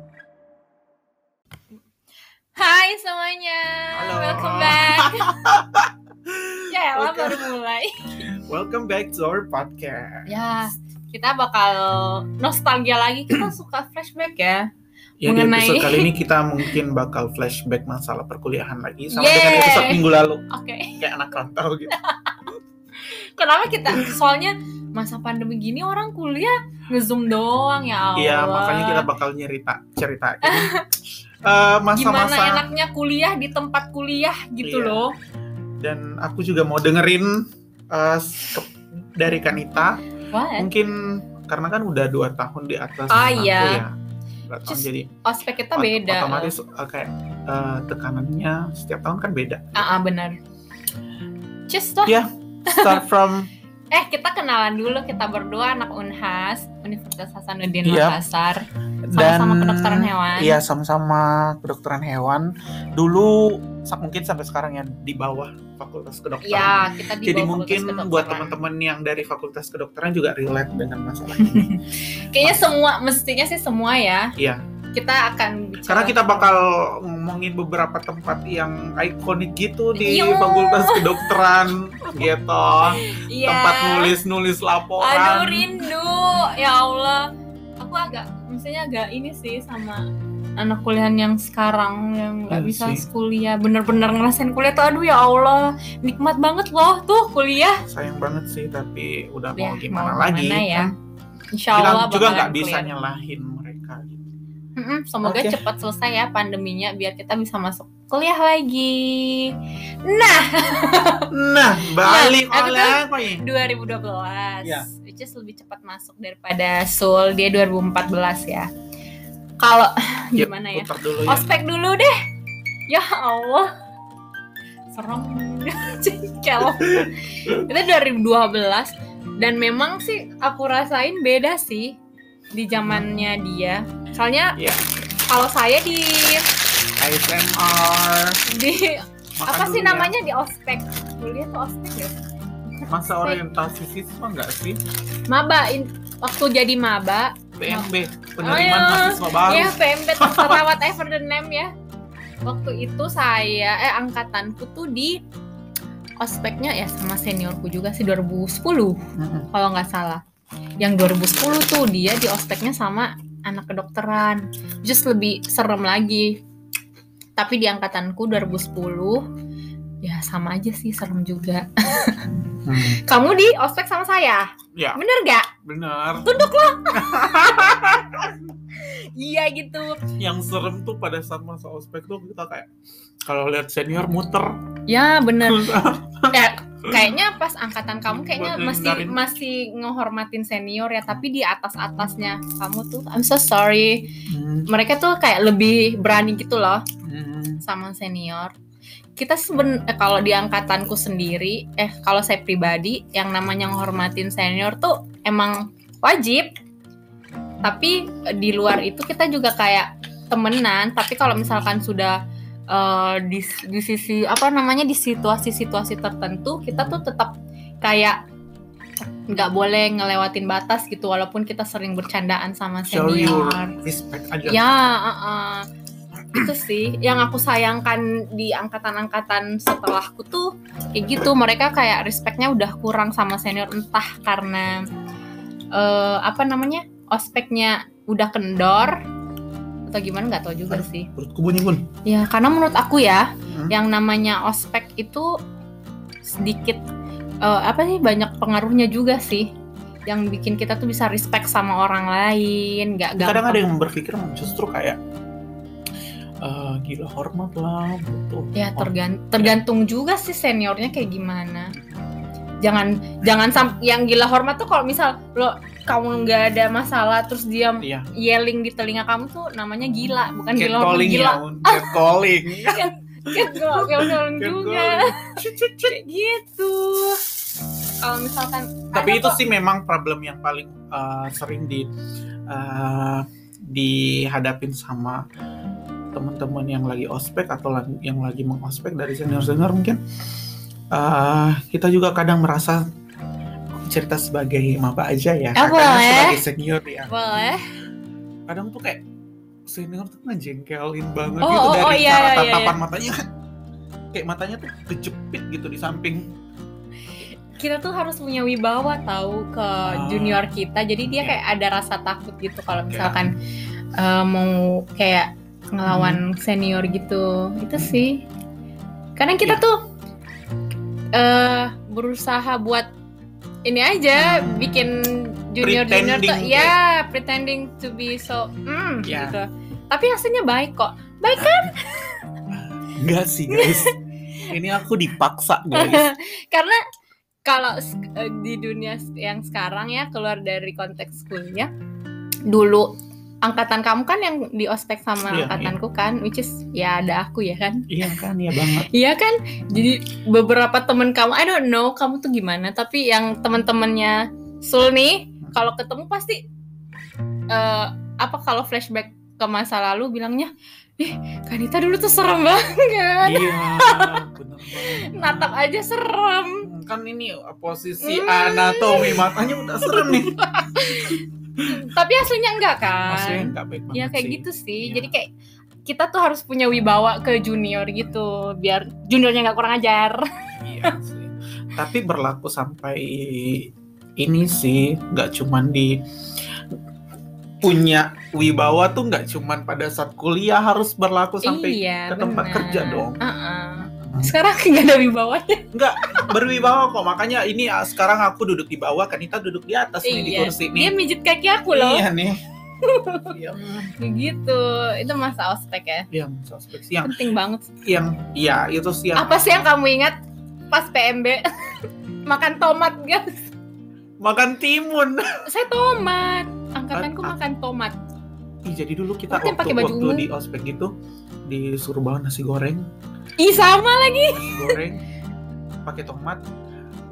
Ya, baru mulai. Welcome back to our podcast. Ya, kita bakal nostalgia lagi. Kita suka flashback ya. Ya, Mengenai- di episode kali ini kita mungkin bakal flashback masalah perkuliahan lagi sama Yeay. dengan episode minggu lalu Oke. kayak anak rantau gitu. Ya Kenapa kita? Soalnya masa pandemi gini orang kuliah ngezoom doang ya Allah. Iya, makanya kita bakal nyerita ceritain eh, Gimana masa-masa enaknya kuliah di tempat kuliah gitu Iya. loh. dan aku juga mau dengerin eh, ke- dari Kanita Eh. What? mungkin karena kan udah dua tahun di atas Ah, aku iya. ya. Dua tahun, Just jadi Ospek kita ot- beda. otomatis eh, kayak eh, tekanannya setiap tahun kan beda. Ah, ah, benar. Cheers lah. Iya. Start from Eh, kita kenalan dulu kita berdua anak Unhas, Universitas Hasanuddin Iya. Makassar. dan Sama-sama kedokteran hewan. Iya, sama-sama kedokteran hewan. Dulu sa- mungkin sampai sekarang ya di bawah Fakultas Kedokteran. Iya, kita di Jadi bawah mungkin Fakultas Kedokteran. buat teman-teman yang dari Fakultas Kedokteran juga relate dengan masalah ini. Kayaknya semua mestinya sih semua ya. Iya. Kita akan bicara Karena kita bakal ngomongin beberapa tempat yang ikonik gitu di Iya. Fakultas Kedokteran gitu. Iya. Tempat nulis-nulis Aduh laporan. rindu ya Allah. Aku agak maksudnya agak ini sih sama anak kuliahan yang sekarang yang nggak Iya bisa sih. kuliah bener-bener ngerasain kuliah tuh aduh ya Allah nikmat banget loh tuh kuliah Sayang banget sih, tapi udah Ya, mau gimana mau lagi. gimana ya. kan? insya Kita Allah juga bakalan nggak bisa clear. nyalahin mereka gitu. Mm-mm, semoga Oke. cepat selesai ya pandeminya biar kita bisa masuk kuliah lagi nah Nah, balik aku tuh- oleh apa ya? 2012 Iya. which is lebih cepat masuk daripada Sul dia 2014 ya kalau Yap, gimana ya Putar dulu ya. ospek dulu deh ya Allah serem kalau itu 2012 dan memang sih aku rasain beda sih di zamannya dia soalnya Iya. kalau saya di ASMR. di Makan apa sih dulu ya. namanya di ospek kuliah tuh ospek ya Masa orientasi siswa nggak sih? maba in- waktu jadi maba PMB, Ayo. penerimaan mahasiswa baru. Oh. Ya, PMB terserah whatever the name ya. Waktu itu saya eh angkatanku tuh di ospeknya ya sama seniorku juga sih 2010 Mm-mm. kalau nggak salah. Yang 2010 tuh dia di ospeknya sama anak kedokteran. Just lebih serem lagi. Tapi di angkatanku 2010 ya sama aja sih serem juga. Hmm. Kamu di ospek sama saya. Ya, Bener gak? benar. Iya gitu. Yang serem tuh pada saat masa ospek tuh kita kayak kalau lihat senior muter. Ya bener ya kayaknya pas angkatan kamu kayaknya Buat masih ngindarin. masih ngehormatin senior ya tapi di atas atasnya kamu tuh I'm so sorry Hmm, mereka tuh kayak lebih berani gitu loh hmm. sama senior kita seben eh, kalau di angkatanku sendiri eh kalau saya pribadi yang namanya ngehormatin senior tuh emang wajib tapi eh, di luar itu kita juga kayak temenan tapi kalau misalkan sudah eh, di, di sisi apa namanya di situasi-situasi tertentu kita tuh tetap kayak nggak boleh ngelewatin batas gitu walaupun kita sering bercandaan sama Show your senior respect aja. Ya, uh-uh. itu sih yang aku sayangkan di angkatan-angkatan setelahku tuh kayak gitu mereka kayak respectnya udah kurang sama senior entah karena eh, apa namanya ospeknya udah kendor atau gimana nggak tahu juga sih Perutku bunyi bun. ya karena menurut aku ya Hmm. yang namanya ospek itu sedikit eh, apa sih banyak pengaruhnya juga sih yang bikin kita tuh bisa respect sama orang lain nggak gampang Kadang ada yang berpikir justru kayak eh, gila hormat lah butuh Ya hormat. tergan- tergantung juga sih seniornya kayak gimana. Jangan jangan sam- yang gila hormat tuh kalau misal lo kamu nggak ada masalah terus dia Iya. yelling di telinga kamu tuh namanya gila bukan gila hormat catcalling gila. ya, Un. catcalling. Catcall, catcalling juga Catcalling. kayak gitu. Kalau misalkan tapi ada itu kok- sih memang problem yang paling uh, sering di uh, dihadapin sama teman-teman yang lagi ospek atau lagi- yang lagi mengospek dari senior-senior mungkin Uh, kita juga kadang merasa aku cerita sebagai maba aja ya Ah, kakaknya boleh. sebagai senior ya boleh. kadang tuh kayak senior tuh ngejengkelin banget Oh, gitu oh, dari oh, iya, cara iya, iya, tatapan matanya kayak matanya tuh kejepit gitu di samping kita tuh harus punya wibawa tahu ke Oh, junior kita jadi dia Oke. kayak ada rasa takut gitu kalau Iya. Oke. misalkan eh, mau kayak ngelawan Hmm. senior gitu itu sih kadang kita Iya. tuh eh berusaha buat ini aja Hmm. bikin junior junior tuh Pretending, ya pretending to be so mm, Iya. gitu tapi hasilnya baik kok baik Enggak sih guys. Ini aku dipaksa guys. karena kalau sk- eh, di dunia s- yang sekarang ya keluar dari konteks kuliah dulu angkatan kamu kan yang di ospek sama Iya, angkatanku kan which is ya ada aku ya kan iya kan ya banget. iya kan jadi beberapa temen kamu I don't know kamu tuh gimana tapi yang temen-temennya Sul nih kalau ketemu pasti eh, apa kalau flashback ke masa lalu bilangnya ih Kanita dulu tuh serem banget Iya. Bener banget. natap aja serem kan ini posisi Hmm. anatomi matanya udah serem nih. tapi aslinya enggak kan Maksudnya nggak baik banget ya kayak sih. gitu sih Iya. jadi kayak kita tuh harus punya wibawa ke junior gitu biar juniornya nggak kurang ajar Iya sih. Tapi berlaku sampai ini sih nggak cuman di punya wibawa tuh nggak cuman pada saat kuliah harus berlaku sampai iya ke tempat benar. kerja dong. Heeh. sekarang nggak ada wibawanya berwibawa kok makanya ini ah, sekarang aku duduk di bawah Kanita duduk di atas nih di iya kursi dia nih mijit kaki aku loh iya nih Iya, mm, gitu itu masa ospek ya iya, suspek sih. yang penting banget yang iya itu sih yang apa sih yang kamu ingat pas PMB makan tomat guys makan timun saya tomat angkatanku Ah, ah. makan tomat Ih, jadi dulu kita Mungkin waktu, pakai baju waktu ungu. di ospek itu disuruh bawa nasi goreng ih sama nasi goreng pakai tomat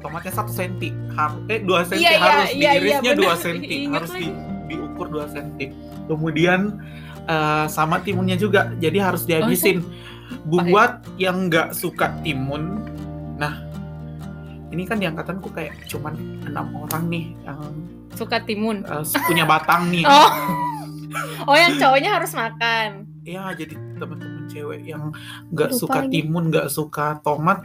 tomatnya satu senti har eh dua senti Iya, iya, harus iya, iya, diirisnya dua benar. senti Ingat harus di- diukur dua senti kemudian eh, sama timunnya juga jadi Oh, harus dihabisin buat yang nggak suka timun nah ini kan di angkatanku kayak cuman enam orang nih yang suka timun eh, punya batang nih oh oh yang cowoknya harus makan ya jadi temen-temen cewek yang nggak Lupa suka lagi. timun nggak suka tomat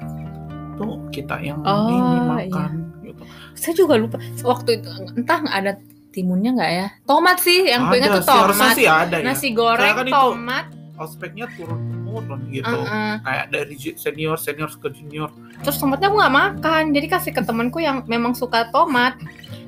tuh kita yang Oh, ini iya. makan gitu saya juga lupa waktu itu entah nggak ada timunnya nggak ya tomat sih yang Ada gue ingat tuh sih, harusnya tomat sih ada ya nasi goreng Soalnya kan itu- tomat ospeknya turun turun gitu uh-uh. kayak dari ju- senior senior ke junior terus tomatnya gue nggak makan jadi kasih ke temanku yang memang suka tomat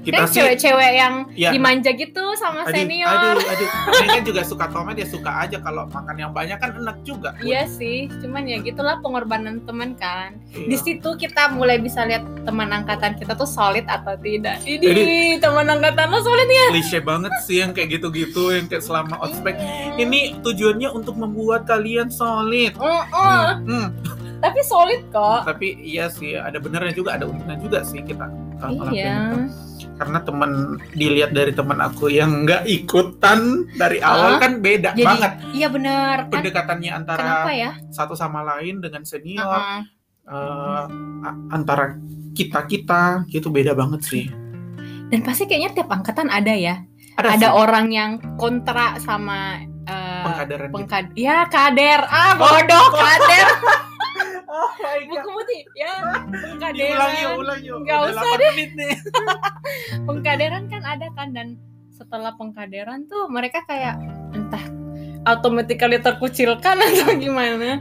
kita kan sih cewek-cewek yang ya dimanja gitu sama aduh, senior aduh aduh Saya kan juga suka tomat ya suka aja kalau makan yang banyak kan enak juga Iya sih, cuman ya gitulah pengorbanan teman kan. Iya. Di situ kita mulai bisa lihat teman angkatan kita tuh solid atau tidak. Ini Jadi- teman angkatan lo solid nih. klise banget sih yang kayak gitu-gitu yang kayak selama Iya. ospek ini tujuannya untuk membuat kalian solid Heeh, Hmm. tapi solid kok. tapi iya sih ada benernya juga ada untungnya juga sih kita uh, ngelakuin itu. Iya. karena temen dilihat dari temen aku yang nggak ikutan dari awal Hah? kan beda Jadi banget iya benar kan. pendekatannya antara Kenapa ya? satu sama lain dengan senior Heeh. eh, a- antara kita kita gitu beda banget sih Dan pasti kayaknya tiap angkatan ada ya. ada, Ada sih orang yang kontra sama eh, pengkaderan gitu. pengkad ya kader ah bodoh Oh. kader Oh my God. buku putih ya Diulang yuk, pengkaderan ulang yuk. Nggak Udah usah 8 menit nih. pengkaderan kan ada kan dan setelah pengkaderan tuh mereka kayak entah automatically terkucilkan atau gimana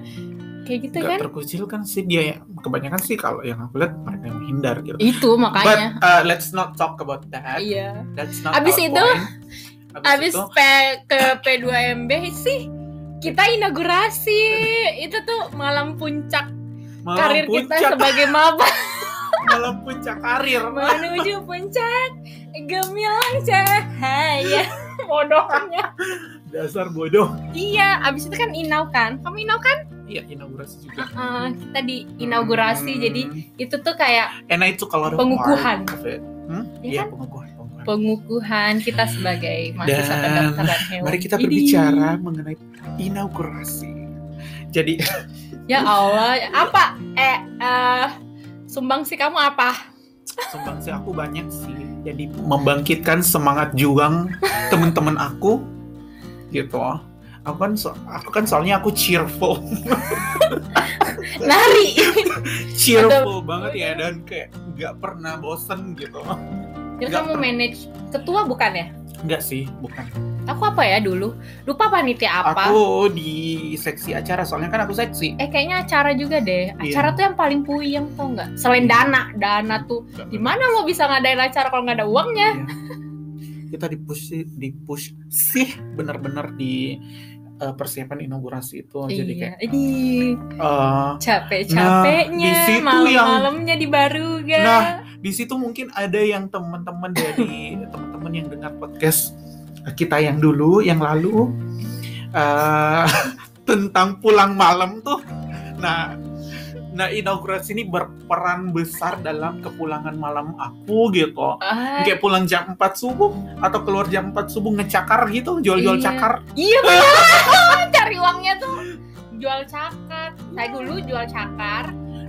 kayak gitu Nggak kan terkucilkan sih dia ya. Kebanyakan sih kalau yang aku lihat mereka yang menghindar gitu. itu makanya But uh, let's not talk about that. iya That's not Abis our itu- point. abis abis, itu P ke P2MB sih kita inaugurasi itu tuh malam puncak malam karir puncak, kita sebagai maba malam puncak karir. menuju puncak gemilang cahaya bodohnya Dasar bodoh. iya abis itu kan inau kan kamu inau kan Iya inaugurasi juga. Eh, kita di inaugurasi Hmm. jadi itu tuh kayak and I took a lot of Pengukuhan. part of it. Hmm? Iya Iya kan? pengukuhan. pengukuhan. pengukuhan kita sebagai mahasiswa Dan kedokteran hewan Mari kita Ini. berbicara mengenai inaugurasi. Jadi ya Allah apa eh eh, sumbangsi kamu apa sumbangsi aku banyak sih. Jadi membangkitkan semangat juang teman-teman aku gitu. aku kan so- aku kan soalnya aku cheerful nari cheerful banget ya dan kayak nggak pernah bosen gitu jadi Nggak kamu pernah. manage ketua bukan ya nggak sih bukan aku apa ya dulu lupa panitia apa aku di seksi acara soalnya kan aku seksi eh kayaknya acara juga deh Iya. acara tuh yang paling puyeng tau nggak selain dana dana tuh gimana lo bisa ngadain acara kalau nggak ada uangnya Iya. kita di push di push sih bener-bener di eh, persiapan inaugurasi itu Oh, jadi kayak iya ini eh, capek Nah, di capeknya situ yang- malam-malamnya di Baruga Nah, di situ mungkin ada yang teman-teman dari teman-teman yang dengar podcast kita yang dulu yang lalu eh, tentang pulang malam tuh nah nah inaugurasi ini berperan besar dalam kepulangan malam aku gitu Ah, kayak pulang jam 4 subuh atau keluar jam 4 subuh ngecakar gitu jual-jual Iya. cakar iya bener cari uangnya tuh jual cakar saya dulu jual cakar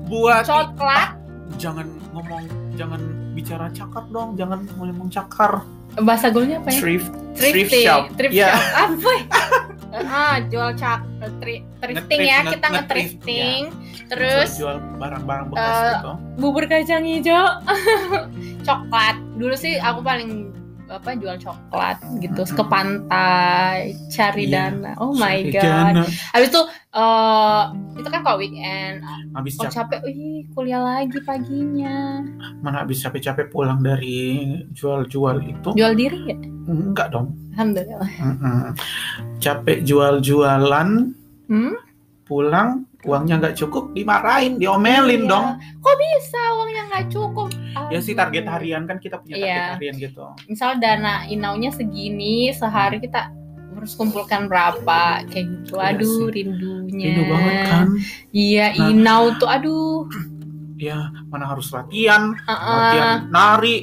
buat coklat jangan ngomong jangan bicara cakar dong jangan ngomong cakar bahasa gaulnya apa ya thrift Thrifting, shop. thrift Iya. shop. apa ya? ah jual cak tri- thrifting Nge-thrift, ya nge- kita nge-thrift, iya. nge-thrifting terus jual barang-barang bekas eh, gitu bubur kacang hijau coklat dulu sih aku paling apa jual coklat gitu Mm-mm. ke pantai cari Hmm. Iya. dana oh my Sorry, god Jana. habis itu eh itu kan kalau weekend habis oh cap- capek wih kuliah lagi paginya mana habis capek-capek pulang dari jual-jual itu jual diri ya enggak dong alhamdulillah Mm-mm. capek jual-jualan hmm? pulang uangnya nggak cukup dimarahin Iya. diomelin dong kok bisa uangnya nggak cukup ya sih Aduh. target harian kan kita punya target Iya. harian gitu misal dana inaunya segini sehari kita harus kumpulkan berapa kayak gitu Iya aduh sih. rindunya rindu banget kan iya Nah. inau tuh aduh ya mana harus latihan uh, latihan nari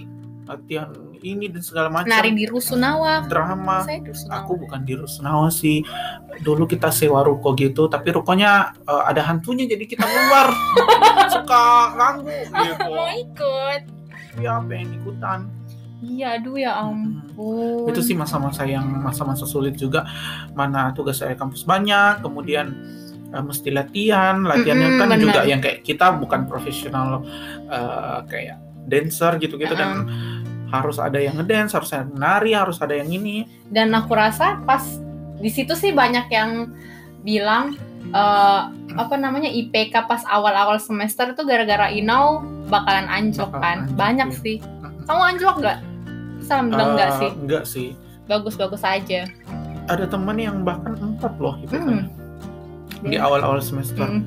latihan ini dan segala macam nari di rusunawa drama saya di rusunawa aku bukan di Rusunawa sih dulu kita sewa ruko gitu tapi rukonya eh, ada hantunya jadi kita keluar suka ganggu gitu mau ikut ya pengen ikutan iya aduh ya ampun Hmm. itu sih masa-masa yang masa-masa sulit juga mana tugas saya kampus banyak kemudian eh, mesti latihan latihannya Mm-mm, kan benar. juga yang kayak kita bukan profesional eh, kayak dancer gitu-gitu dan harus ada yang ngedance harus ada yang menari harus ada yang ini dan aku rasa pas di situ sih banyak yang bilang eh, apa namanya IPK pas awal-awal semester itu gara-gara inau bakalan anjlok Bakalan kan anjlok, banyak iya. sih kamu anjlok nggak? Salam bilang nggak Eh, sih enggak sih bagus-bagus aja ada teman yang bahkan empat loh gitu Hmm. di Iya. awal-awal semester Hmm.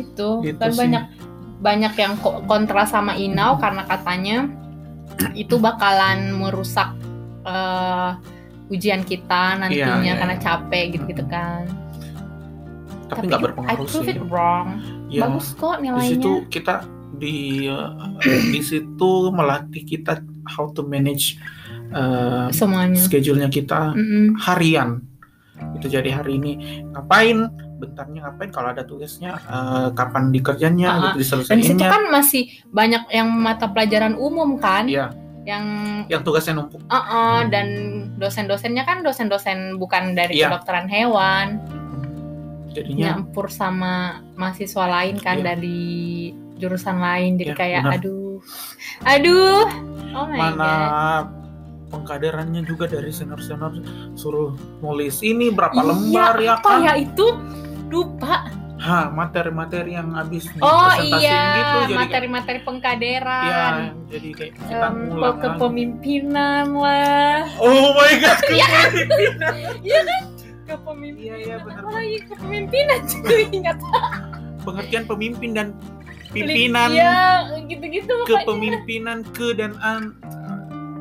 itu Gitu kan sih. banyak banyak yang ko- kontra sama inau karena katanya itu bakalan merusak eh, ujian kita nantinya Iya, iya, karena iya. capek gitu-gitu kan gitu, tapi nggak I berpengaruh prove sih it wrong ya bagus kok di nilainya situ kita di eh, di situ melatih kita how to manage eh, semuanya schedule-nya kita Mm-mm. harian itu jadi hari ini ngapain bentarnya ngapain kalau ada tugasnya eh, kapan dikerjanya Ah, dan di gitu situ diselesaikannya kan masih banyak yang mata pelajaran umum kan Iya. yang yang tugasnya numpuk uh-uh, dan dosen-dosennya kan dosen-dosen bukan dari Iya. kedokteran hewan jadinya nyampur sama mahasiswa lain kan Iya. dari jurusan lain jadi Iya, kayak benar. aduh aduh oh my mana god pengkaderannya juga dari senior-senior suruh nulis ini berapa Iya, lembar ya apa kan ya itu lupa Hah, materi-materi yang habis oh dipresentasiin iya gitu jadi materi-materi kayak, ya, pengkaderan jadi kayak kita Kan. kan. Em, ngulang lagi. kepemimpinan lah Oh my god. Iya kan? kan? kepemimpinan Iya iya benar. apa lagi kepemimpinan jadi ingat Pengertian pemimpin dan pimpinan ya gitu-gitu pokoknya kepemimpinan ke dan an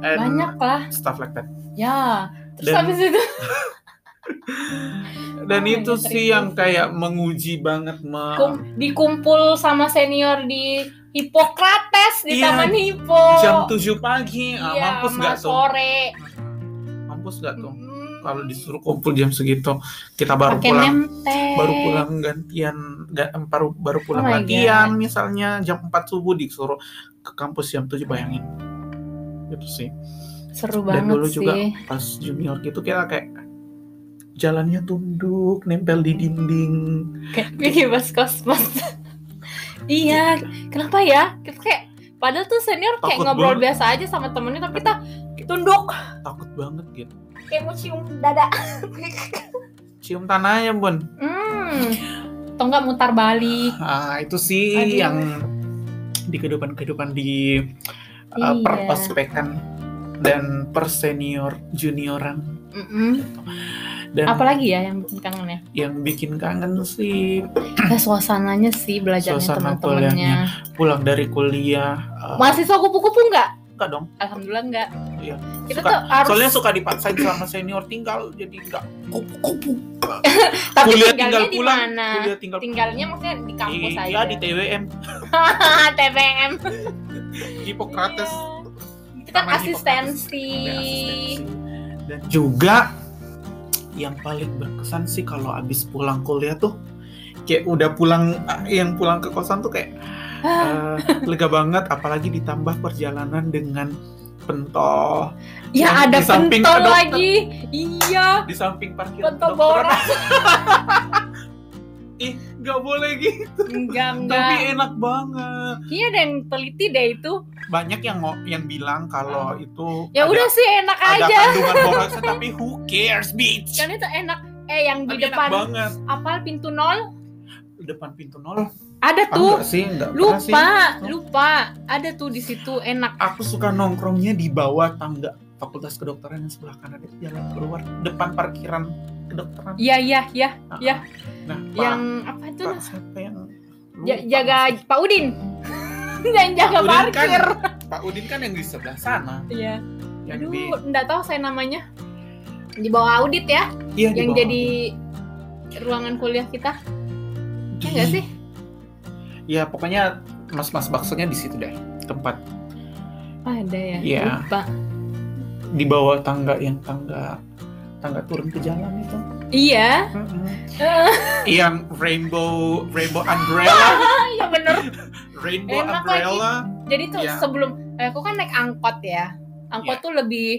and banyak lah stuff like that. ya terus Dan- habis itu Oh Dan my itu God, sih terima yang kayak menguji banget me- Kum- dikumpul sama senior di Hipokrates di Iya, Taman Hipo. jam 7 pagi. Ah, Iya, mampus sama nggak tuh? Sore. Mampus nggak tuh? Mm. Kalau disuruh kumpul jam segitu, kita baru Pakai pulang nemtek. baru pulang gantian ga- baru baru pulang Oh my latihan misalnya jam 4 subuh disuruh ke kampus jam 7 bayangin gitu sih Seru dan banget dulu sih. juga pas junior gitu kita kayak jalannya tunduk nempel di dinding kayak kayak bebas kosmos iya kenapa ya kayak padahal tuh senior kayak Takut ngobrol banget. biasa aja sama temennya tapi kita tunduk takut banget gitu kayak mau cium dada cium tanahnya bun hmm atau enggak mutar balik Ah, itu sih Aduh. yang di kehidupan kehidupan di uh, Iya. perospekan dan per senior junioran Mm-mm. dan apalagi ya yang bikin kangen ya yang bikin kangen sih Ya, suasananya sih belajarnya Suasana teman-temannya pulang dari kuliah uh, mahasiswa kupu-kupu enggak enggak dong alhamdulillah enggak Iya. kita Suka- tuh harus soalnya suka dipaksain sama senior tinggal jadi enggak kupu-kupu tapi kuliah tinggalnya tinggal di pulang, mana kuliah tinggal tinggalnya maksudnya di kampus Iya, aja Ah, di TWM TBM Hippocrates Iya. Itu kan Taman asistensi. Hippocrates. dan juga yang paling berkesan sih kalau abis pulang kuliah tuh kayak udah pulang yang pulang ke kosan tuh kayak Ah. eh, lega banget apalagi ditambah perjalanan dengan pentol Ya Yang ada di samping pentol ada dokter. lagi. Iya, di samping parkir pentol kedokteran. borak. ih nggak boleh gitu Enggak, tapi enggak. enak banget Iya ada yang teliti deh itu. banyak yang ngo- yang bilang kalau itu Ya ada- udah sih enak ada aja. kandungan borosnya tapi who cares bitch Kan itu enak. Eh yang di tapi enak depan banget apal pintu nol depan pintu nol ada Ah, tuh. enggak sih enggak pernah sih. Lupa, lupa. Ada tuh di situ enak. aku suka nongkrongnya di bawah tangga fakultas kedokteran yang sebelah kanan itu jalan keluar depan parkiran kedokteran Iya, iya, iya. Ah, Iya. ah. nah Pak- Yang apa itu? Pak siapa yang Ja- Lupa. jaga Pak Udin. Yang jaga Udin kan. parkir. Pak Udin kan yang di sebelah sana Iya. yang Aduh, di nggak tahu saya namanya. Di bawah audit ya, iya di yang bawah. jadi ruangan kuliah kita, Di- ya nggak sih? ya pokoknya mas-mas baksonya di situ deh tempat Ada ya. Iya. Lupa. di bawah tangga yang tangga tangga turun ke jalan itu Iya. yang rainbow rainbow umbrella Iya bener. rainbow Enak umbrella Jadi tuh Iya. sebelum, eh, aku kan naik angkot ya. Angkot Iya. tuh lebih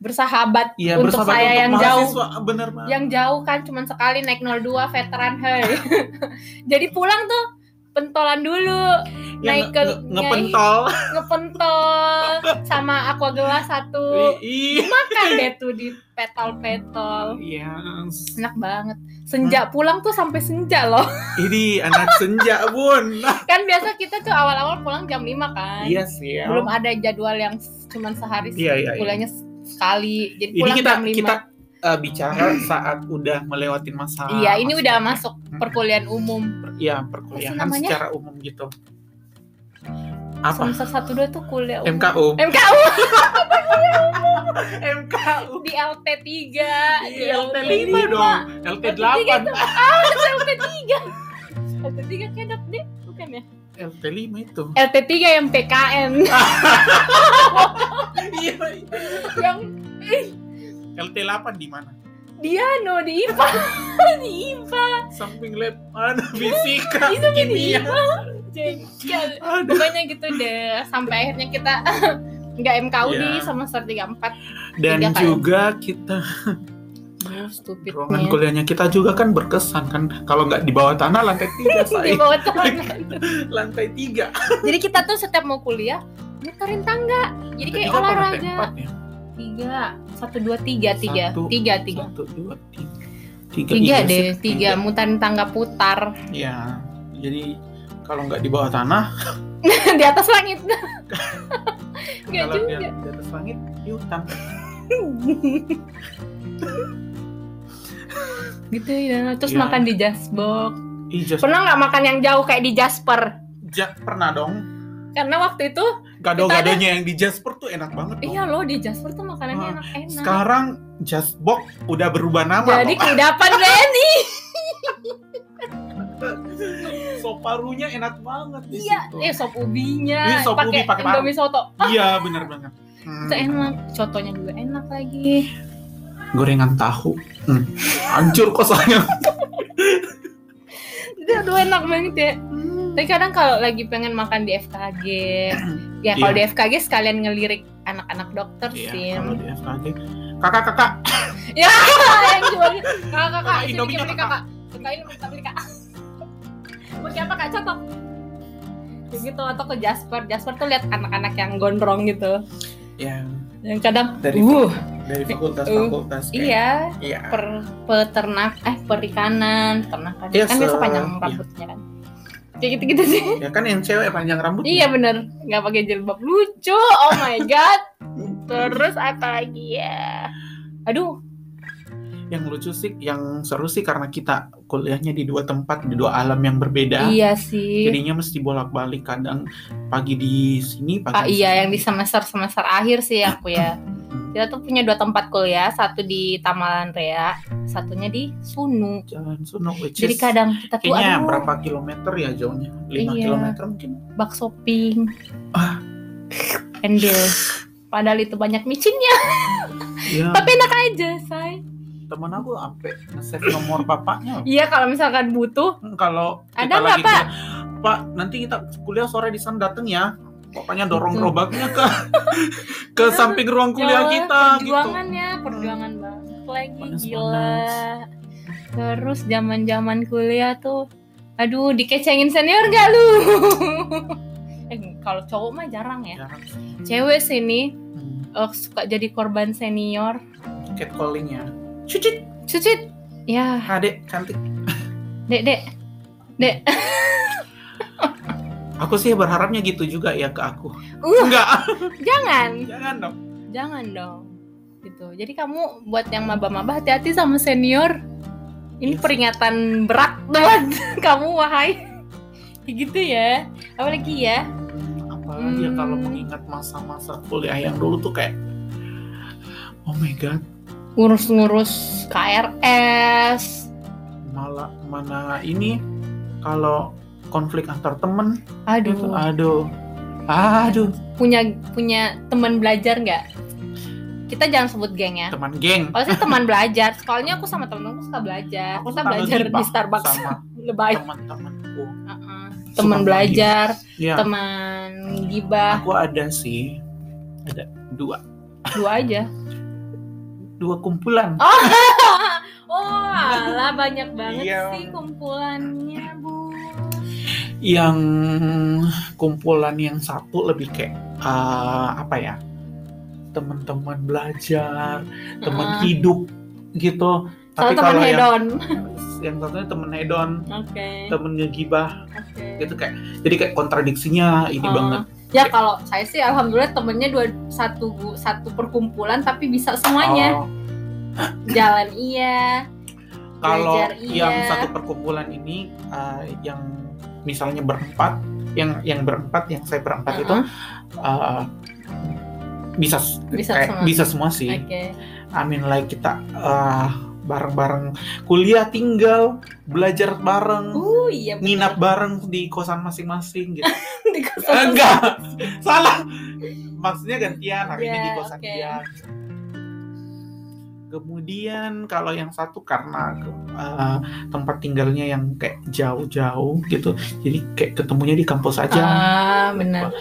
bersahabat Iya untuk bersama saya untuk yang jauh. mahasiswa, Ah, bener banget. Yang jauh kan cuman sekali naik 02 veteran hey. Jadi pulang tuh pentolan dulu, Yang naik nge- ke nge- ngepentol. ngepentol sama aqua gelas satu. Iya. Makan deh tuh di petol-petol. Iya. enak banget senja pulang tuh sampai senja loh Ini anak senja bun. kan biasa kita tuh awal-awal pulang jam 5 kan Iya sih. ya. belum ada jadwal yang s- cuman sehari Iya, iya, iya. kuliahnya s- sekali jadi Ini pulang kita jam 5 kita eh, bicara saat udah melewati masa. iya ini masa- udah masuk Hmm. perkuliahan umum Iya perkuliahan Apa sih namanya? secara umum gitu. Apa? semester satu dua tuh kuliah umum MKU. MKU MKU. di LT 3 di Iya, LT LT5 lima dong. LT 8. LT 3 LT 3 kayak dok deh bukan ya LT 5 itu. LT 3 yang PKN Ah. Iya. yang LT 8 di mana? dia no di IPA di IPA Samping lab ada fisika, Iya, samping di kimia. jengkel Aduh. pokoknya gitu deh sampai akhirnya kita nggak MKU di Iya. semester 34 Dan Tiga kali. juga kita Aduh, ruangan stupidnya kuliahnya kita juga kan berkesan kan kalau nggak di bawah tanah lantai tiga di saya bawah tangan lantai tiga jadi kita tuh setiap mau kuliah muterin tangga jadi kayak Tiga apa lantai olahraga empat ya? tiga satu dua tiga tiga Satu, tiga tiga satu dua tiga tiga, tiga iya deh sih, tiga muterin tangga putar ya jadi kalau nggak di bawah tanah di atas langit nggak kalau juga dia di atas langit di hutan gitu ya terus Iya. makan di jasbok Ih, just- pernah nggak makan yang jauh kayak di Jasper Ja- pernah dong karena waktu itu gado-gadonya yang di Jasper tuh enak banget dong. iya loh di Jasper tuh makanannya Ah, enak-enak sekarang Jasbox udah berubah nama Jadi loh. kudapan Benny. sop parunya enak banget di Iya, situ. eh sop ubinya. Iya, sop ubi pakai paru. Indomie soto. iya bener banget Hmm. Itu enak, sotonya juga enak lagi. gorengan tahu hmm. hancur kosannya Itu aduh enak banget ya. Tapi kadang kalau lagi pengen makan di FKG, ya kalau Iya. di FKG sekalian ngelirik anak-anak dokter Iya, sih. kalau di FKG kakak kakak ya yang cuma kakak kakak Kakak, ini Indomie-nya beli kakak kakak ini minta beli kakak mau siapa kak cocok Kayak gitu atau ke Jasper Jasper tuh lihat anak-anak yang gondrong gitu yang yang kadang Dari- uh Ya, dari fakultas-fakultas kayak- iya iya per peternak eh perikanan peternakan Iya, kan biasa se- panjang iya. rambutnya kan kayak gitu gitu sih ya kan yang cewek panjang rambut ya. iya bener nggak pakai jilbab lucu oh my god terus apa lagi ya aduh yang lucu sih yang seru sih karena kita kuliahnya di dua tempat di dua alam yang berbeda iya sih jadinya mesti bolak-balik kadang pagi di sini pagi ah, di iya sana. yang di semester semester akhir sih aku ya kita tuh punya dua tempat kuliah satu di Tamalan Rea satunya di Sunu jalan Suno which jadi is kadang kita tuh kayaknya aduh berapa kilometer ya jauhnya 5 Iya. kilometer mungkin bakso pink Ah. endel padahal itu banyak micinnya ya tapi enak aja say temen aku sampai nge-save nomor bapaknya iya kalau misalkan butuh Hmm, kalau kita Ada nggak, lagi Pak? kuliah, pak nanti kita kuliah sore di sana dateng ya pokoknya dorong Gitu. gerobaknya ke ke Ya, samping ruang kuliah ya, kita gitu Hmm. perjuangan ya perjuangan banget lagi Panas-panas. gila terus zaman zaman kuliah tuh aduh dikecengin senior gak lu eh kalau cowok mah jarang ya ya. cewek sini Hmm, eh, suka jadi korban senior catcalling ya cucit cucit ya adek cantik dek dek aku sih berharapnya gitu juga ya ke aku uh enggak jangan jangan dong jangan dong gitu jadi kamu buat yang maba-maba hati-hati sama senior ini Yes. peringatan berat buat kamu wahai Kayak gitu ya apalagi ya apalagi ya Hmm. kalau mengingat masa-masa kuliah yang dulu tuh kayak oh my god ngurus-ngurus KRS malah mana ini kalau konflik antar temen gitu aduh aduh aduh punya punya teman belajar nggak kita jangan sebut geng ya teman geng kalau saya teman belajar soalnya aku sama temen-temenku suka belajar kita suka belajar di ngegibah Starbucks sama lebay teman-temanku Heeh. Suka teman ngegibah. belajar ya teman gibah aku ada sih ada dua dua aja dua kumpulan Oh, alah banyak banget Iya. sih kumpulannya, Bu. yang kumpulan yang satu lebih kayak eh, apa ya teman-teman belajar teman Heeh. hidup gitu Soal tapi teman kalau yang hedon. yang satunya temen hedon Oke. temen ngegibah Oke. gitu kayak jadi kayak kontradiksinya ini Oh. banget Ya kalau saya sih alhamdulillah temennya dua satu gu- satu perkumpulan tapi bisa semuanya. Oh, Jalan iya. kalau Belajar, iya. yang satu perkumpulan ini eh, yang misalnya berempat yang yang berempat yang saya berempat itu Heeh. eh, bisa s- Uh-huh. Bisa kayak semua. bisa semua sih Oke. amin lah kita eh, bareng-bareng kuliah tinggal belajar bareng Uh, iya. bener. nginap bareng di kosan masing-masing gitu Di kosan. enggak salah maksudnya gantian hari ini di Iya, kosan oke. dia kemudian kalau yang satu karena eh, tempat tinggalnya yang kayak jauh-jauh gitu jadi kayak ketemunya di kampus aja Ah, benar.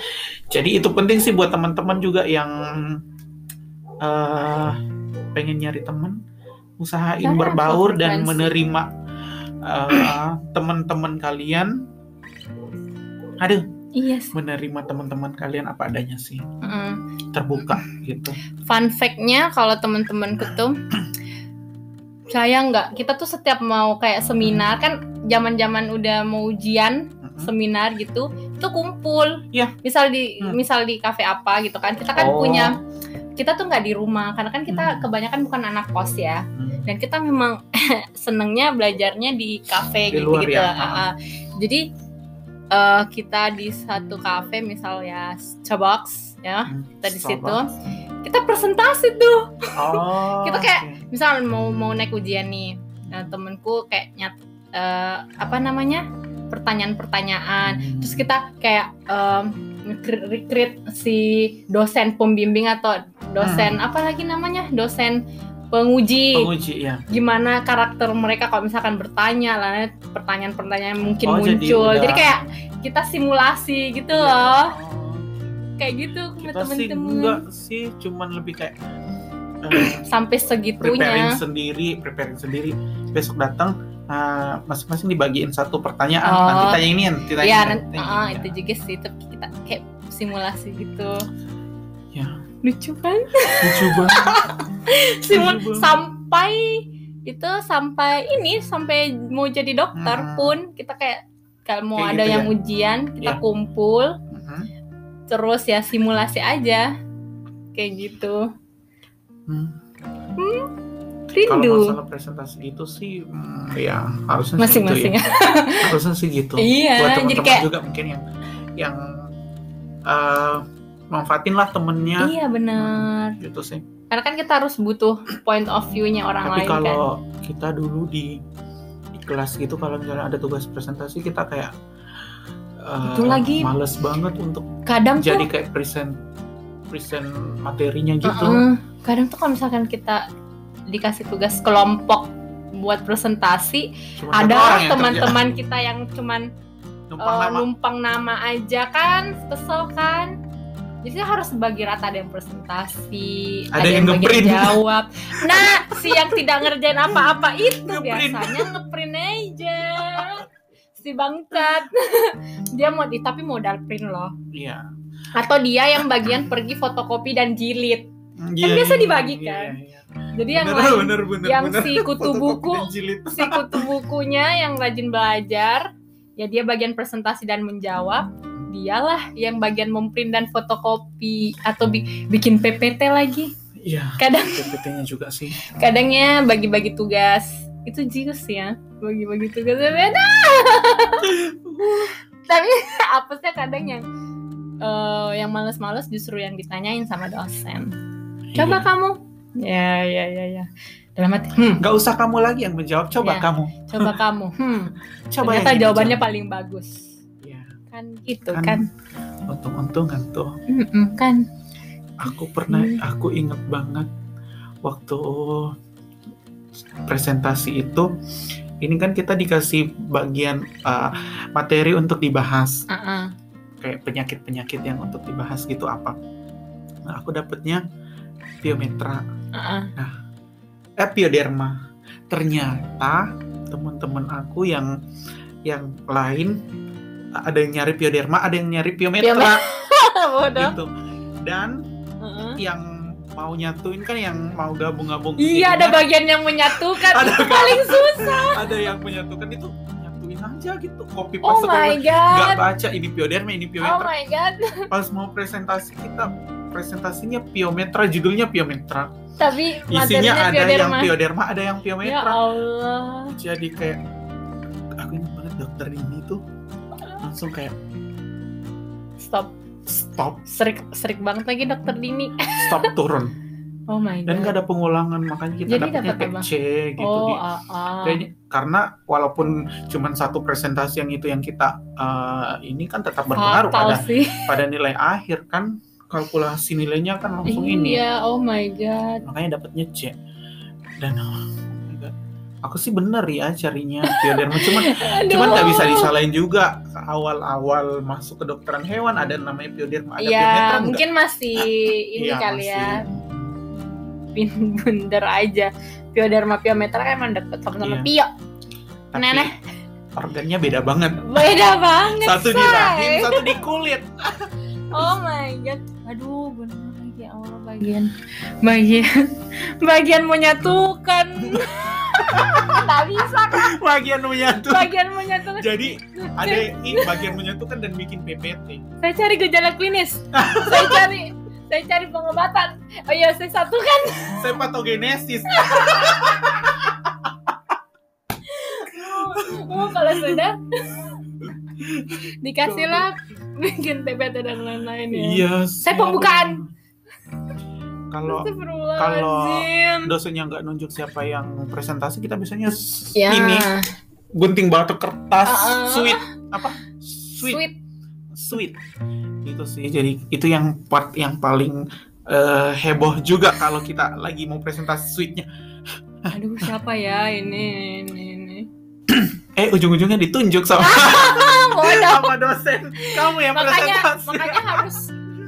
jadi itu penting sih buat teman-teman juga yang eh, pengen nyari teman usahain Karena berbaur dan frekuensi. menerima eh, teman-teman kalian aduh Iya. sih. menerima teman-teman kalian apa adanya sih Mm. terbuka gitu fun fact-nya kalau temen-temenku tuh saya nggak kita tuh setiap mau kayak seminar kan zaman-zaman udah mau ujian Mm-mm. seminar gitu itu kumpul Iya. misal di Hmm. misal di kafe apa gitu kan kita kan Oh. punya kita tuh nggak di rumah karena kan kita Hmm. kebanyakan bukan anak kos ya Hmm. dan kita memang senengnya belajarnya di kafe Di gitu luar gitu ya. Ah, ah. jadi eh, kita di satu kafe misal ya Starbucks ya kita di situ Starbucks. kita presentasi tuh oh Kita kayak- oke. misal mau mau naik ujian nih nah, temenku kayak nyat eh, apa namanya pertanyaan-pertanyaan Hmm. kan, terus kita kayak em, nge- recruit si dosen pembimbing atau dosen apa lagi namanya dosen penguji Hmm. penguji ya gimana karakter mereka kalau misalkan bertanya lah eh, pertanyaan-pertanyaan yang mungkin Oh, jadi muncul jadi, udah- Iya. kayak kita simulasi gitu loh kayak gitu sama Oh, kita sih temen-temen enggak sih cuman lebih kayak eh, sampai preparing segitunya. sendiri, preparing sendiri. Besok datang uh, masing-masing dibagiin satu pertanyaan, Oh. nanti tanya ini, nanti tanya Ya, ini, nanti, tanya ah, ini. itu juga sih tapi kita kayak simulasi gitu. Ya. Lucu kan? Lucu banget. Simul Aduh, Iya Bang. sampai itu sampai ini sampai mau jadi dokter Hmm. pun kita kayak kalau mau Kayak ada gitu yang ya? ujian kita Ya. kumpul Mhm. terus ya simulasi aja kayak gitu Hmm. Kalau rindu masalah presentasi gitu sih, hmm, ya harusnya sih gitu masing-masing ya. Harusnya sih gitu. Buat iya jadi teman-teman kayak juga mungkin yang yang eh, manfaatin lah temennya iya bener gitu sih. karena kan kita harus butuh point of view-nya orang Tapi lain kan kalau kita dulu di, di kelas gitu kalau misalnya ada tugas presentasi kita kayak eh, Itu lagi. males banget untuk kadang tuh jadi kayak present present materinya gitu. uh-uh, kadang tuh kalau misalkan kita dikasih tugas kelompok buat presentasi Cuma satu orang ada yang teman-teman kita yang cuman eh, kerja. numpang nama. numpang nama aja kan kesel kan jadi harus bagi rata ada yang presentasi Ada yang ngeprint. jawab nah si yang tidak ngerjain apa-apa itu Ngeprint. biasanya ngeprint aja si bangkat dia mau di tapi modal print loh Iya. atau dia yang bagian pergi fotokopi dan jilid Kan Iya, biasa iya, dibagikan. iya, iya. jadi yang Bener, lain bener, bener, kan? yang bener. si kutu Fotokopi buku dijilid. si kutu bukunya yang rajin belajar ya dia bagian presentasi dan menjawab dialah yang bagian memprint dan fotokopi atau bi- bikin PPT lagi Iya, kadang PPT-nya juga sih. kadangnya bagi-bagi tugas itu jius ya bagi-bagi tugas beda tapi apesnya kadang yang eh, yang males-males justru yang ditanyain sama dosen coba Iya. kamu ya ya ya ya dalam hati hmm, Nggak usah kamu lagi yang menjawab, coba Iya. kamu. coba kamu hmm, Coba yang ternyata ini jawabannya jawab. paling bagus Iya. kan gitu Kan. kan, Untung-untungan tuh. Mm-mm, kan. Aku pernah, Hmm. aku inget banget waktu presentasi itu. Ini kan kita dikasih bagian uh, materi untuk dibahas, Ah-ah. kayak penyakit-penyakit yang untuk dibahas gitu apa. Nah, aku dapetnya biometra. Ah-ah. epioderma. Eh, Ternyata teman-teman aku yang yang lain ada yang nyari pioderma, ada yang nyari piometra Piometra. Bodoh. gitu. Dan Ah-ah. yang mau nyatuin kan yang mau gabung-gabung. Iya ada jadinya bagian yang menyatukan Ada itu paling susah. ada yang menyatukan itu nyatuin aja gitu copy Oh paste my copy- nggak god. baca ini pioderma ini Oh piometra. my god. Pas mau presentasi kita presentasinya piometra judulnya piometra. Tapi materinya Isinya ada yang bioderma. pioderma, ada yang Ya piometra. Allah. jadi kayak aku ingat banget dokter ini tuh langsung kayak Stop. stop Serik serik banget lagi dokter Dini. stop turun Oh my god. dan nggak ada pengulangan makanya kita Jadi dapetnya dapet kayak apa? C gitu oh, di- ah, ah. kayaknya- karena walaupun cuman satu presentasi yang itu yang kita eh, ini kan tetap berpengaruh Fatal pada sih. pada nilai akhir kan kalkulasi nilainya kan langsung ini Iya, oh my god. makanya dapatnya C dan oh my God. aku sih bener ya carinya bioderma cuman Cuman nggak bisa disalahin juga awal-awal masuk ke dokteran hewan ada namanya pioderma ada Ya, piometra mungkin masih ini Iya, kali ya. masih. Pin bundar aja. Pioderma piometra kan emang deket sama-sama Iya. pio. Tapi Neneh. organnya beda banget. Beda banget. Satu di say. rahim, satu di kulit. Oh my god. Aduh, bener lagi ya Allah bagian bagian bagian menyatukan. Gak bisa kan Bagian menyatu. bagian menyatukan. Jadi ada ini bagian menyatukan dan bikin PPT. Saya cari gejala klinis. saya cari saya cari pengobatan. Oh iya, saya satukan. Saya patogenesis. Oh, kalau sudah dikasihlah bikin TPT dan lain-lain ya. Iya. Saya sih. pembukaan. Kalau Astagfirullahaladzim. dosennya nggak nunjuk siapa yang presentasi kita biasanya s- Ya. ini gunting batu kertas Ah, ah. sweet apa Sweet. sweet sweet gitu sih jadi itu yang part yang paling eh, heboh juga kalau kita lagi mau presentasi sweetnya Aduh, siapa ya ini ini ini. eh ujung-ujungnya ditunjuk sama Bodoh. sama dosen kamu yang makanya presentasi makanya harus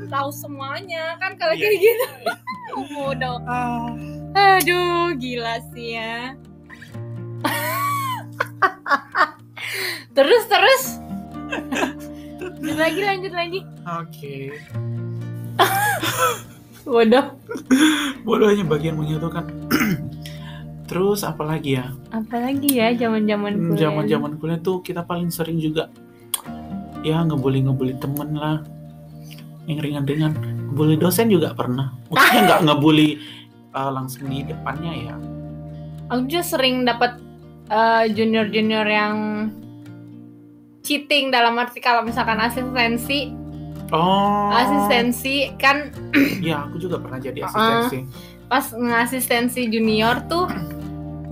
tahu semuanya kan kalau Iya. kayak gitu bodoh Ah, aduh gila sih ya terus terus lanjut lagi lanjut lagi Oke, bodoh bodoh hanya bagian menyatukan. Terus apalagi ya? apalagi ya zaman zaman Hmm, Zaman-zaman kuliah tuh kita paling sering juga ya ngebully-ngebully temen lah. Yang ringan-ringan, ngebully dosen juga pernah. Maksudnya nggak ngebully uh, langsung di depannya ya. aku juga sering dapat junior junior yang cheating dalam arti kalau misalkan asistensi Oh. asistensi kan Ya, aku juga pernah jadi Uh-uh. asisten sih. pas ngasistensi junior tuh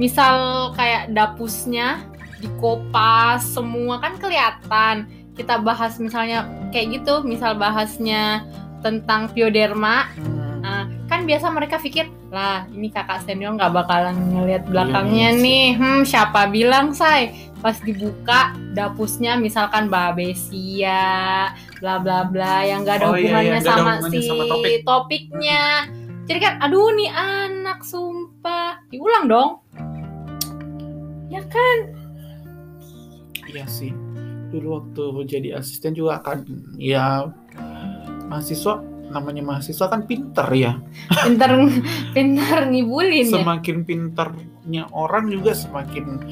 misal kayak dapusnya dikopas semua kan kelihatan kita bahas misalnya kayak gitu misal bahasnya tentang pioderma Hmm. nah, kan biasa mereka pikir lah ini kakak senior nggak bakalan ngelihat belakangnya Iya, iya sih. nih hmm siapa bilang say pas dibuka dapusnya misalkan mbak Besia bla bla bla yang nggak ada Oh, iya, iya, hubungannya nggak ada sama hubungannya si sama topik. topiknya jadi kan aduh nih anak sumpah diulang dong ya kan Iya sih. Dulu waktu jadi asisten juga kan ya mahasiswa namanya mahasiswa kan pinter ya. pinter pinter ngibulin ya Semakin pinternya orang juga semakin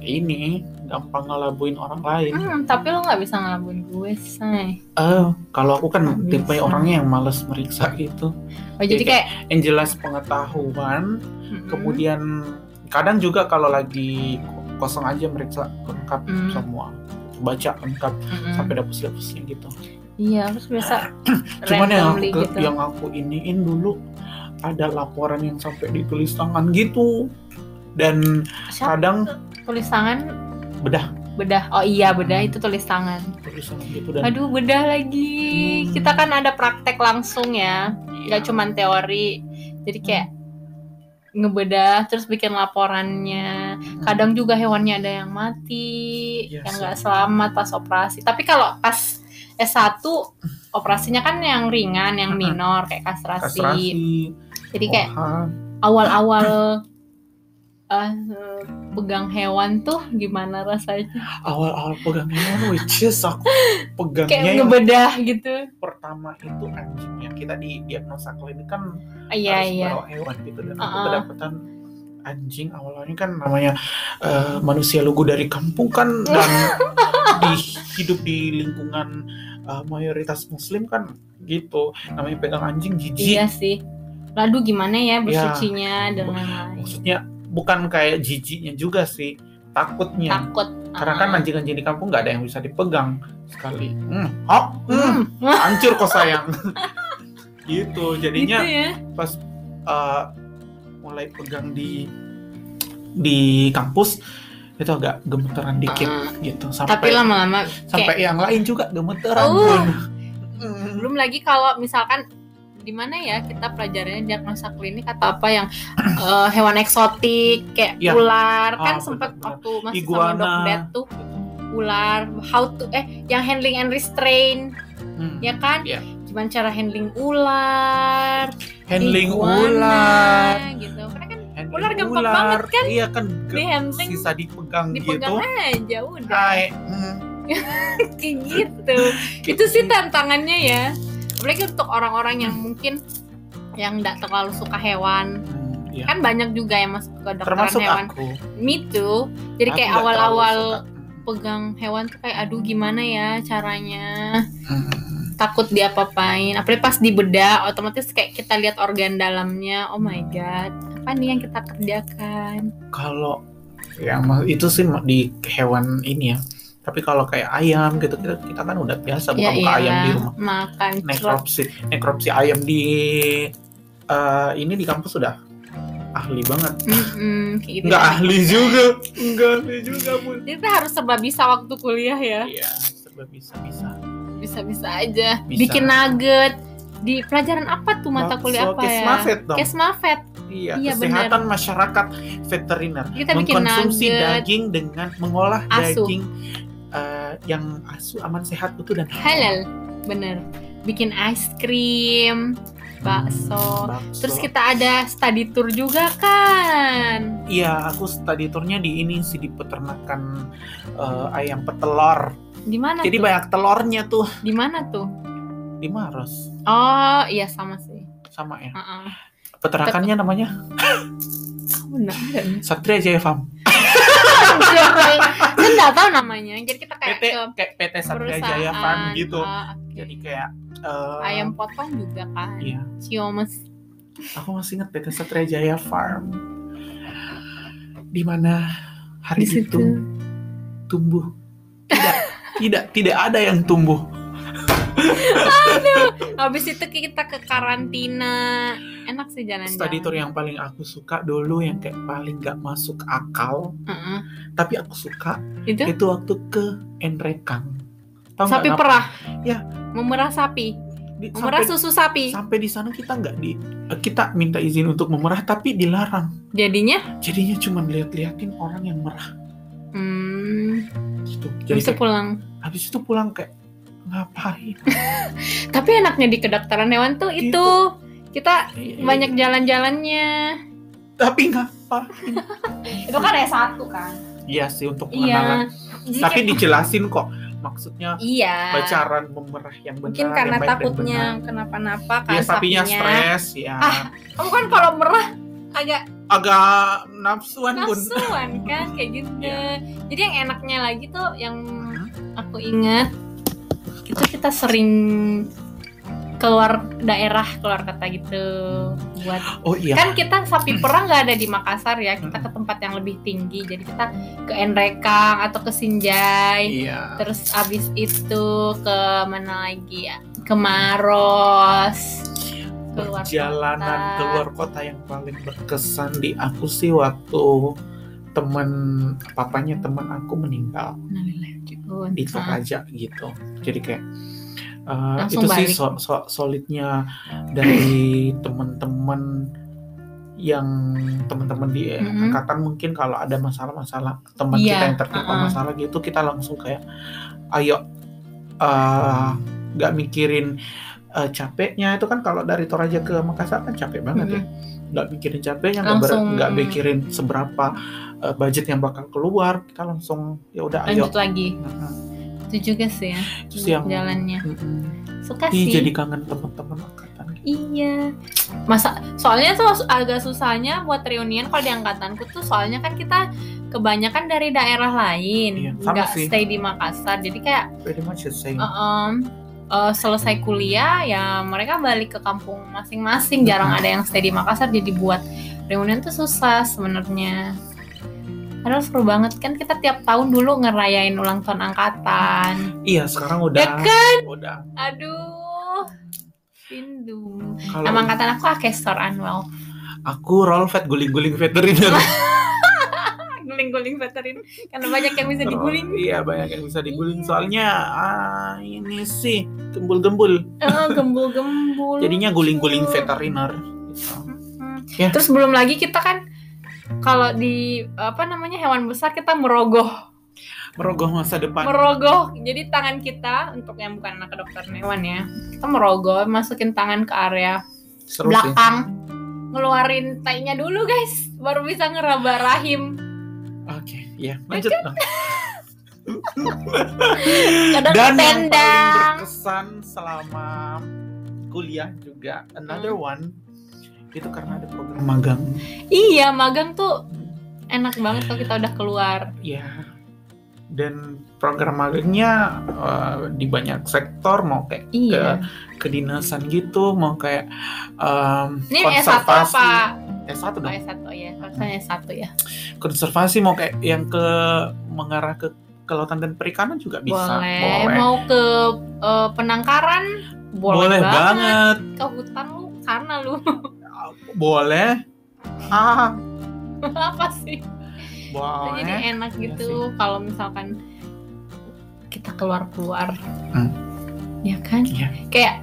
ini gampang ngelabuin orang lain. Hmm, tapi lo nggak bisa ngelabuin gue say Eh, kalau aku kan Nggak tipe bisa. orangnya yang males meriksa gitu. oh jadi Iya. kayak Yang jelas pengetahuan, mm-mm. kemudian kadang juga kalau lagi kosong aja meriksa lengkap Hmm. semua. Baca lengkap Mm-mm. sampai dapet-dapetnya gitu. Iya, terus biasa cuman yang aku, randomly gitu. ke- yang aku iniin dulu ada laporan yang sampai ditulis tangan gitu dan Siapa kadang tulis tangan bedah bedah. Oh iya, bedah itu tulis tangan. tulisan gitu dan Aduh, bedah lagi. Hmm. Kita kan ada praktek langsung ya, Iya. nggak cuman teori. Jadi kayak ngebedah terus bikin laporannya. Kadang juga hewannya ada yang mati, Hmm. Iya yang sih. nggak selamat pas operasi. Tapi kalau pas S1 operasinya kan yang ringan, yang Mm-mm. minor kayak kastrasi. Hmm. kastrasi Jadi kayak OHA. awal-awal eh, pegang hewan tuh gimana rasanya? awal-awal pegangnya which is aku Kayak pegangnya yang ngebedah gitu. pertama itu anjingnya kita di diagnosa klinik kan Ah, Iya harus iya. bawa hewan gitu dan aku Uh-uh. kedapatan anjing awalnya kan namanya eh, manusia lugu dari kampung kan dan di, hidup di lingkungan eh, mayoritas muslim kan gitu namanya pegang anjing Iya jijik sih. Lalu gimana ya bersucinya dan lain-lain. Iya. maksudnya bukan kayak jijiknya juga sih takutnya Takut. karena ah. kan anjing-anjing di kampung nggak ada yang bisa dipegang sekali hmm, hok, hmm, Hmm, hancur kok sayang gitu gitu jadinya ya. pas uh, mulai pegang di di kampus itu agak gemeteran dikit Ah. gitu Tapi sampai lama-lama sampai yang lain juga gemeteran Oh. Mm, Bun. belum lagi kalau misalkan di mana ya kita pelajarannya diagnosa klinik atau apa yang eh, hewan eksotik kayak Ya. ular kan Ah, sempat benar-benar. waktu masih sama Iguana. dok Dad tuh ular how to eh yang handling and restrain Hmm. ya kan? Iya. Gimana cara handling ular, handling iguana, ular gitu. Karena kan handling Ular gampang banget kan? iya kan ge- di handling sisa dipegang, dipegang gitu aja udah Hai, hmm, kayak gitu. Itu sih tantangannya ya. Apalagi untuk orang-orang yang mungkin yang nggak terlalu suka hewan Hmm, iya. kan banyak juga yang masuk ke Kan dokteran termasuk hewan aku me too jadi Aku kayak nggak terlalu awal-awal suka. pegang hewan tuh kayak aduh gimana ya caranya Hmm. takut diapa-apain apalagi pas dibedah otomatis kayak kita lihat organ dalamnya oh Hmm. my god apa nih yang kita kerjakan kalau ya ma- itu sih ma- di hewan ini ya tapi kalau kayak ayam gitu kita, kita kan udah Iya, biasa buka buka ayam di rumah Ya makan cerot nekropsi nekropsi ayam di eh, ini di kampus sudah ahli banget Mm-mm, kayak gitu nggak ahli juga nggak ahli juga pun jadi kita harus serba bisa waktu kuliah ya iya serba bisa bisa bisa-bisa aja Bisa. bikin nugget di pelajaran apa tuh mata kuliah apa ya Kesmafet dong Kesmafet. iya, iya, kesehatan masyarakat veteriner Kita bikin mengkonsumsi nugget. daging dengan mengolah Asu. daging eh, yang asu aman sehat utuh dan halal. halal bener bikin ice cream, bakso. Terus kita ada study tour juga kan. Iya, aku study tournya di ini sih di peternakan eh, ayam petelor. Di mana? Jadi tuh? banyak telurnya tuh Di mana tuh? di Maros Oh, iya sama sih. sama ya. Heeh. Peternakannya namanya Benar. Satria Jaya Farm. Kan nggak tahu namanya. Jadi kita kayak PT ke kayak PT Satria Eh, perusahaan Jaya Farm gitu. Ah, oke. Jadi kayak eh, ayam potong juga kan. Iya, Ciomes. aku masih ingat PT Satria Jaya Farm. Di mana hari Di situ. itu tumbuh tidak tidak tidak ada yang tumbuh Habis itu kita ke karantina. Enak sih jalan-jalan. study tour yang paling aku suka dulu yang kayak paling gak masuk akal Heeh. tapi aku suka Itu itu waktu ke Enrekang Tahu nggak sapi kenapa? perah. Ya. Memerah sapi. Di- Memerah sampai, susu sapi. sampai di sana kita nggak di eh, kita minta izin untuk memerah tapi dilarang Jadinya jadinya cuma lihat-liatin orang yang merah hmm, gitu jadi bisa kayak, pulang. habis itu pulang kayak ngapain Tapi enaknya di kedokteran hewan tuh Gitu. itu kita banyak jalan-jalannya. tapi ngapain Itu kan ada satu kan. iya sih untuk Iya. pengenalan Jadi tapi kayak- dijelasin kok maksudnya Iya. pacaran memerah yang benar Mungkin yang karena baik dan takutnya benar. kenapa-napa kan Ya sapinya stres ya. Ah. Kamu kan kalau merah agak Agak nafsuan pun. nafsuan kan kayak gitu. Iya. Jadi yang enaknya lagi tuh yang Hmm. aku ingat itu kita sering keluar daerah keluar kota gitu buat Oh iya. kan kita sapi perah nggak ada di Makassar ya kita ke tempat yang lebih tinggi jadi kita ke Enrekang atau ke Sinjai Iya. terus abis itu ke mana lagi ya ke Maros keluar Perjalanan kota. keluar kota yang paling berkesan di aku sih waktu temen papanya temen aku meninggal Innalillahi wa'alaikum. di Nah, Ah, Toraja gitu. Jadi kayak eh, Langsung itu sih balik. so- so- solidnya dari temen-temen yang temen-temen di Mhm. angkatan mungkin kalau ada masalah-masalah teman Iya, kita yang tertimpa uh-uh. masalah gitu kita langsung kayak ayo eh, nggak mikirin eh, capeknya itu kan kalau dari Toraja ke Makassar kan capek banget ya nggak mikirin capeknya nggak ber- Langsung- nggak mikirin seberapa eh, budget yang bakal keluar kita langsung ya udah ayo lanjut lagi Mhm. itu juga sih ya Terus yang jalannya Mm-mm. suka Ih, Iya sih jadi kangen teman-teman angkatan. gitu, Iya. Masa soalnya tuh agak susahnya buat reunian kalau di angkatanku tuh soalnya kan kita kebanyakan dari daerah Iya, lain, sama nggak sih. stay di Makassar. Jadi kayak Pretty much the same. eh, em, eh, selesai kuliah ya mereka balik ke kampung masing-masing. Jarang Mm. ada yang stay di Makassar jadi buat reunian tuh susah sebenarnya. Padahal seru banget kan kita tiap tahun dulu ngerayain ulang tahun angkatan. Iya, sekarang udah Ya kan? udah. Aduh. Rindu. Kalau Nama angkatan aku Akestor Anwal. aku roll fat guling-guling veteriner. guling-guling veterin karena banyak yang bisa diguling Roll- Iya, banyak yang bisa diguling Iya. soalnya ah, ini sih gembul-gembul. Eh, gembul-gembul Jadinya guling-guling Lucu. veteriner. Gitu. Mm-mm. Ya. terus belum lagi kita kan kalau di apa namanya hewan besar kita merogoh Merogoh masa depan. merogoh jadi tangan kita untuk yang bukan anak kedokteran hewan ya kita merogoh masukin tangan ke area Seru sih. belakang ngeluarin tainya dulu guys baru bisa ngeraba rahim Oke, ya lanjut. kan? dong. kadang Dan yang paling tendang berkesan selama kuliah juga another Hmm. one itu karena ada program magang. iya magang tuh enak banget kalau kita udah keluar ya dan program magangnya eh, di banyak sektor mau kayak iya kedinasan gitu mau kayak em, Ini S1 apa? S1 Oh, dong S1 ya. Harusnya S1 ya. konservasi mau kayak yang ke mengarah ke kelautan dan perikanan juga bisa boleh. Mau ke eh, penangkaran? Boleh, Boleh banget. Ke hutan lu karena lu boleh ah apa sih? Jadi boleh enak Iya gitu kalau misalkan kita keluar-keluar. Hmm. Ya kan? Iya. Kayak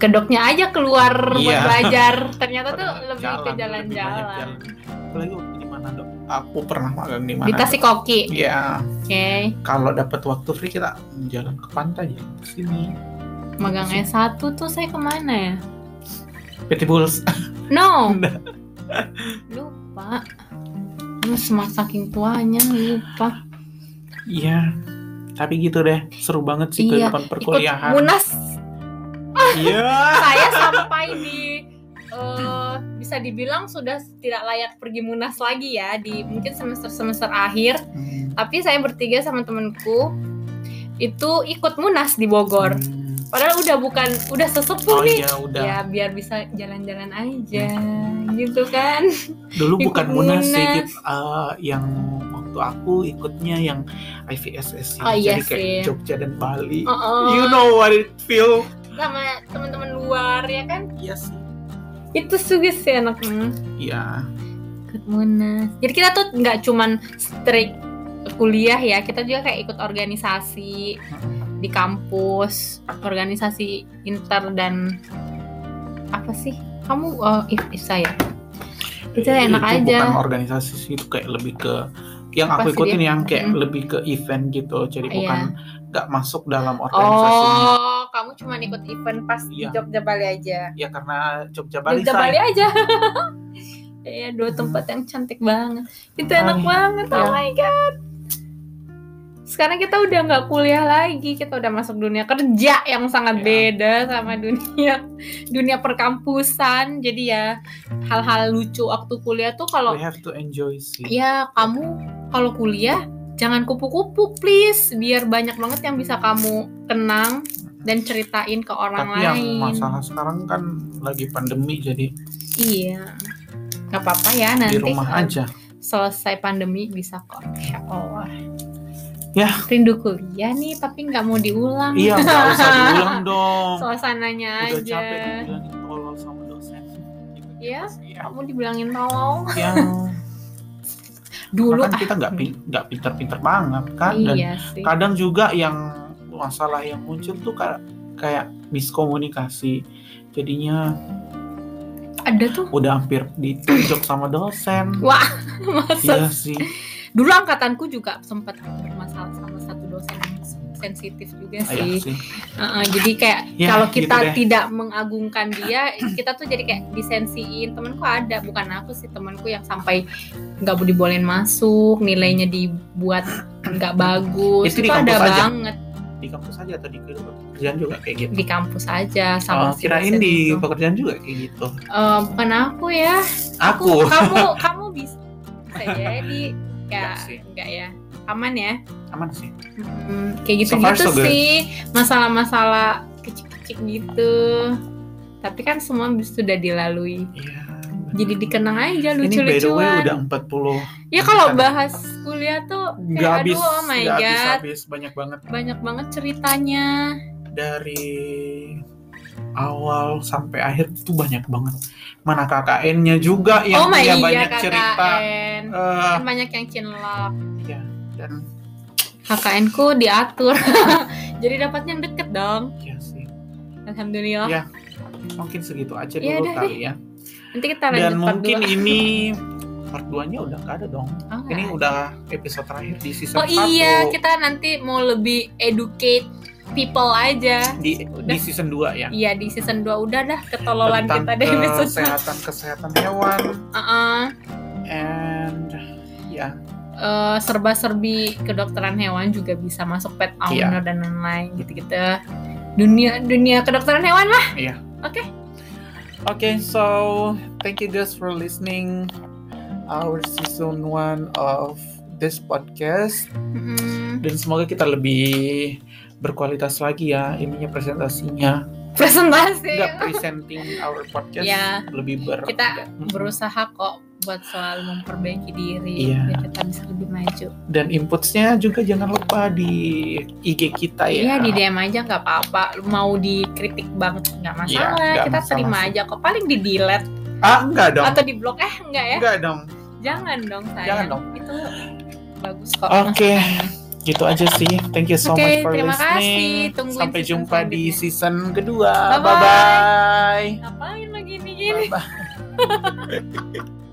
kedoknya aja keluar buat Iya. belajar. Ternyata tuh lebih ke lebih banyak jalan-jalan. jalan. apalagi waktu di mana dok aku pernah magang di mana Iya. Di Tasikoki. Dok? Oke. ya kalau dapat waktu free kita jalan ke pantai jalan ke sini magang S1 tuh saya kemana ya? PT Bulls No. lupa. Lu semak saking tuanya lupa. iya tapi gitu deh seru banget sih Iya, kehidupan Ikut perkuliahan munas iya saya sampai di eh, bisa dibilang sudah tidak layak pergi munas lagi ya di mungkin semester semester akhir. Hmm. Tapi saya bertiga sama temenku itu ikut munas di Bogor. Hmm. Padahal udah bukan udah sesepuh oh nih. iya udah Ya biar bisa jalan-jalan aja gitu kan. dulu bukan Ikut munas sih Munas. Kit. Eh, yang waktu aku ikutnya yang IVSS Oh, iya jadi kayak sih. Jogja dan Bali Oh, you know what it feel sama teman-teman luar ya kan. iya sih Itu sugis sih enaknya. iya Ikut Munas. Jadi kita tuh nggak cuman strict kuliah ya, kita juga kayak ikut organisasi Hmm. di kampus, organisasi inter dan apa sih? Kamu oh, if, IFSA ya? Itu enak Eh, itu aja. bukan organisasi sih itu kayak lebih ke yang Apa aku sih ikutin dia? yang kayak Mm. lebih ke event gitu jadi Iya. bukan nggak masuk dalam organisasinya Oh, kamu cuman ikut event pas di Iya. Jogja Bali aja. ya karena Jogja Bali Jogja say. Bali aja. Iya, dua tempat yang cantik banget. Itu enak Ay, banget. Oh ya. my god. Sekarang kita udah nggak kuliah lagi, kita udah masuk dunia kerja yang sangat Ya. beda sama dunia dunia perkampusan. Jadi ya hal-hal lucu waktu kuliah tuh kalau we have to enjoy sih ya kamu kalau kuliah jangan kupu-kupu please, biar banyak banget yang bisa kamu kenang dan ceritain ke orang tapi lain. yang masalah sekarang kan lagi pandemi jadi Iya. Gak apa-apa ya nanti. di rumah kalau aja Selesai pandemi bisa kok. Insya Allah. Yah. Rindu kuliah nih tapi nggak mau diulang. iya nggak usah diulang dong Suasananya Iya. udah aja. capek dibilangin tolol sama dosen Iya. Iya. Kamu dibilangin tolong. yang Dulu kan kita nggak pin- nggak pinter-pinter banget kan ah, dan iya sih. kadang juga yang masalah yang muncul tuh ka- kayak miskomunikasi jadinya Ada tuh udah hampir ditunjuk sama dosen Wah, masa iya sih dulu angkatanku juga sempat bermasalah sama satu dosen yang sensitif juga iya sih. sih Heeh, jadi kayak Ya, kalau gitu kita deh. tidak mengagungkan dia, kita tuh jadi kayak disensiin. Temanku ada, bukan aku sih temanku yang sampai nggak boleh dibolehin masuk, nilainya dibuat nggak bagus. Itu, Itu di ada kampus aja? banget di kampus aja atau di pekerjaan juga kayak gitu di kampus aja Oh, sama si kirain dosen di itu. pekerjaan juga kayak gitu Eh, bukan aku ya. aku kamu kamu bisa, bisa jadi Nggak ya sih. enggak ya. Aman ya. aman sih Hmm, kayak So far, gitu-gitu so good. sih masalah-masalah kecil-kecil gitu tapi kan semua sudah dilalui iya jadi dikenang aja ini by the way lucu-lucuan udah 40 ya kalau bukan. bahas kuliah tuh nggak kayak habis aduh oh my nggak habis god habis banyak banget banyak banget ceritanya dari awal sampai akhir itu banyak banget mana KKN-nya juga oh yang my punya iya banyak cerita KKN Eh, Kan banyak yang cinlok ya, dan KKN ku diatur jadi dapat yang deket dong ya sih alhamdulillah Ya. mungkin segitu aja Ya, dulu udah kali ya nanti kita lanjut dan part mungkin dua. ini part 2-nya udah nggak ada dong Oh, ini nggak udah episode terakhir di season Oh 1 iya, kita nanti mau lebih educate people aja. di, di udah. season 2 ya Iya di season 2 udah dah ketololan tentang kita deh episode Uh-uh. satu. kesehatan kesehatan hewan Heeh. and ya Eh, serba-serbi kedokteran hewan juga bisa masuk pet owner Iya. dan lain-lain gitu-gitu. Dunia dunia kedokteran hewan lah. Okay, so thank you guys for listening our season one of this podcast Mm-mm. dan semoga kita lebih berkualitas lagi ya ininya presentasinya Presentasi. nggak presenting our podcast Ya. lebih ber Iya. Kita Mm-mm. berusaha kok buat selalu memperbaiki diri Iya. biar kita bisa lebih maju. dan inputsnya juga jangan lupa di IG kita Iya ya di DM aja nggak apa-apa. Mau dikritik banget nggak masalah. Iya, nggak kita masalah terima sih. aja kok. Paling di delete ah enggak dong atau di blok eh nggak ya? enggak dong Jangan dong saya. Jangan dong. Oh. Itu bagus kok. oke gitu aja sih thank you so Oke, much for terima listening kasih. Tungguin sampai season jumpa di selanjutnya. season kedua Bye-bye. bye bye Ngapain lagi ini? bye bye